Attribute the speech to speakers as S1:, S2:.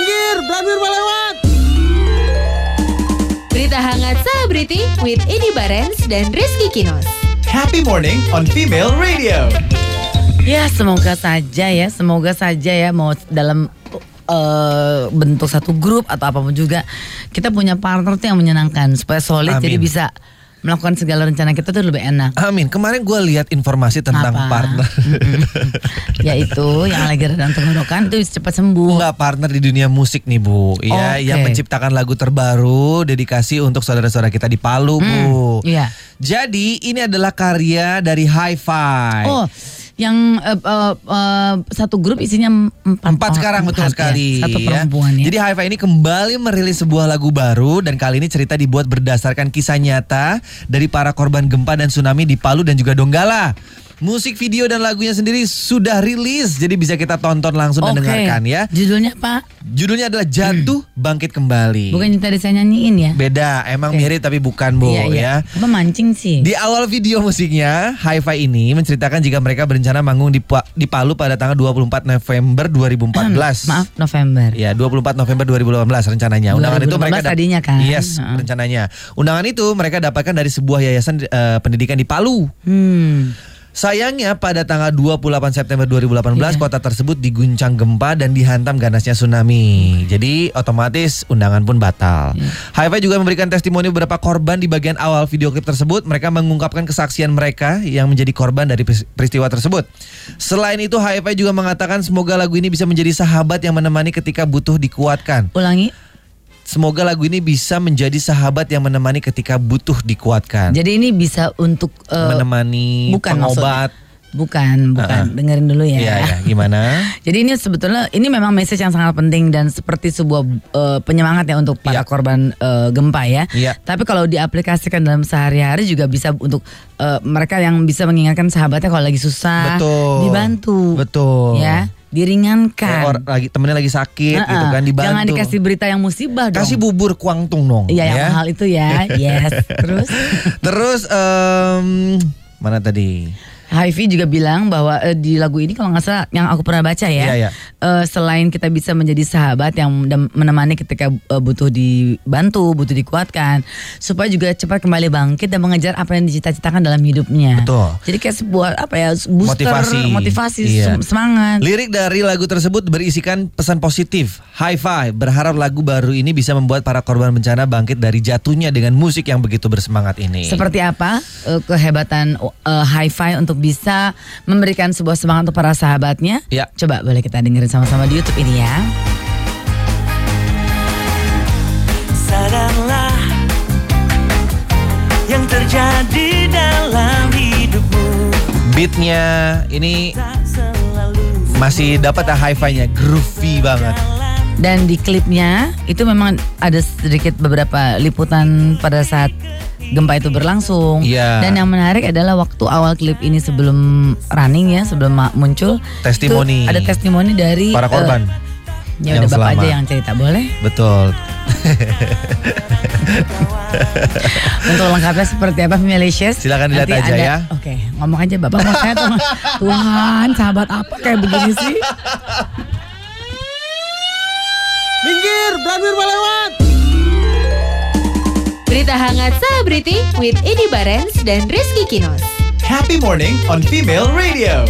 S1: Takbir lewat.
S2: Berita hangat selebriti with Edi Barens dan Rizky Kinos.
S3: Happy morning on Female Radio.
S4: Ya semoga saja ya, semoga saja ya mau dalam eh, bentuk satu grup atau apapun juga kita punya partner tuh yang menyenangkan supaya solid
S1: Amin.
S4: jadi bisa melakukan segala rencana kita tuh lebih enak.
S1: Amin. Kemarin gue lihat informasi tentang
S4: Apa?
S1: partner.
S4: Yaitu yang lagi radang tenggorokan itu cepat sembuh.
S1: Enggak partner di dunia musik nih Bu. Iya,
S4: Oke.
S1: yang menciptakan lagu terbaru dedikasi untuk saudara-saudara kita di Palu, Bu.
S4: iya.
S1: Jadi ini adalah karya dari Hi-Fi.
S4: Oh, yang eh, eh, eh, satu grup isinya empat,
S1: Empat
S4: orang,
S1: sekarang betul
S4: empat ya.
S1: sekali.
S4: Satu
S1: ya.
S4: perempuan ya.
S1: Jadi Haifa ini kembali merilis sebuah lagu baru dan kali ini cerita dibuat berdasarkan kisah nyata dari para korban gempa dan tsunami di Palu dan juga Donggala. Musik video dan lagunya sendiri sudah rilis, jadi bisa kita tonton langsung dan
S4: Oke.
S1: dengarkan ya.
S4: Judulnya apa?
S1: Judulnya adalah Jatuh Bangkit Kembali.
S4: Hmm. Bukan yang tadi saya nyanyiin ya?
S1: Beda, emang
S4: Oke. Iya,
S1: mirip tapi bukan Bu ya.
S4: Apa mancing sih?
S1: Di awal video musiknya, Hi-Fi ini menceritakan jika mereka berencana manggung di, Pa- di Palu pada tanggal 24 November 2014.
S4: Hmm, Maaf November.
S1: Ya, 24 November 2018 rencananya. Undangan itu
S4: 2018
S1: mereka dap-
S4: tadinya kan?
S1: Yes,
S4: Heeh.
S1: rencananya. Undangan itu mereka dapatkan dari sebuah yayasan eh, pendidikan di Palu.
S4: Hmm.
S1: Sayangnya pada tanggal 28 September 2018
S4: Iya.
S1: kota tersebut diguncang gempa dan dihantam ganasnya tsunami. Jadi otomatis undangan pun batal.
S4: Iya.
S1: Hi-Fi juga memberikan testimoni beberapa korban di bagian awal video klip tersebut. Mereka mengungkapkan kesaksian mereka yang menjadi korban dari pers- peristiwa tersebut. Selain itu Hi-Fi juga mengatakan semoga lagu ini bisa menjadi sahabat yang menemani ketika butuh dikuatkan.
S4: Ulangi.
S1: Semoga lagu ini bisa menjadi sahabat yang menemani ketika butuh dikuatkan.
S4: Jadi ini bisa untuk eh,
S1: menemani
S4: bukan
S1: pengobat.
S4: maksudnya. Bukan, bukan. Dengerin dulu ya.
S1: Iya, ya, gimana?
S4: Jadi ini sebetulnya ini memang message yang sangat penting dan seperti sebuah eh, penyemangat ya untuk para
S1: Iya.
S4: korban eh, gempa ya.
S1: Iya.
S4: Tapi kalau diaplikasikan dalam sehari-hari juga bisa untuk eh, mereka yang bisa mengingatkan sahabatnya kalau lagi susah
S1: Betul.
S4: dibantu.
S1: Betul.
S4: Ya,
S1: Eh,
S4: diringankan.
S1: or- lagi temennya lagi sakit
S4: Heeh.
S1: gitu kan dibantu.
S4: Jangan dikasih berita yang musibah dong.
S1: Kasih bubur kuangtung dong.
S4: Iya yang
S1: ya.
S4: mahal itu ya. Yes. Terus
S1: Terus em, mana tadi?
S4: Haifi juga bilang bahwa eh, di lagu ini kalau nggak salah yang aku pernah baca ya,
S1: Iya, iya.
S4: eh, selain kita bisa menjadi sahabat yang mendem- menemani ketika eh, butuh dibantu, butuh dikuatkan, supaya juga cepat kembali bangkit dan mengejar apa yang dicita-citakan dalam hidupnya.
S1: Betul.
S4: Jadi kayak sebuah apa ya booster,
S1: Motivasi.
S4: motivasi,
S1: Iya.
S4: sem- semangat.
S1: Lirik dari lagu tersebut berisikan pesan positif. High five, berharap lagu baru ini bisa membuat para korban bencana bangkit dari jatuhnya dengan musik yang begitu bersemangat ini.
S4: Seperti apa eh, kehebatan eh, hi-fi untuk bisa memberikan sebuah semangat untuk para sahabatnya?
S1: Ya.
S4: Coba boleh kita dengerin sama-sama di YouTube ini ya.
S5: sadarlah yang terjadi dalam hidupmu
S1: Beatnya ini
S5: tak selalu
S1: masih dapat ah high five-nya groovy banget.
S4: Dan di klipnya itu memang ada sedikit beberapa liputan pada saat gempa itu berlangsung.
S1: Iya.
S4: Dan yang menarik adalah waktu awal klip ini sebelum running ya, sebelum ma- muncul
S1: Testimoni.
S4: itu ada testimoni dari
S1: Para
S4: eh,
S1: korban.
S4: ya udah
S1: yang
S4: bapak
S1: selamat.
S4: aja yang cerita boleh.
S1: Betul.
S4: Untuk lengkapnya seperti apa Malaysia?
S1: Silakan dilihat aja ya.
S4: Oke, ngomong aja bapak mau saya tuh, Tuhan, sahabat apa kayak begini sih?
S1: Minggir, Blanwir lewat.
S2: Berita hangat selebriti with Edi Barens dan Rizky Kinos.
S3: Happy morning on Female Radio.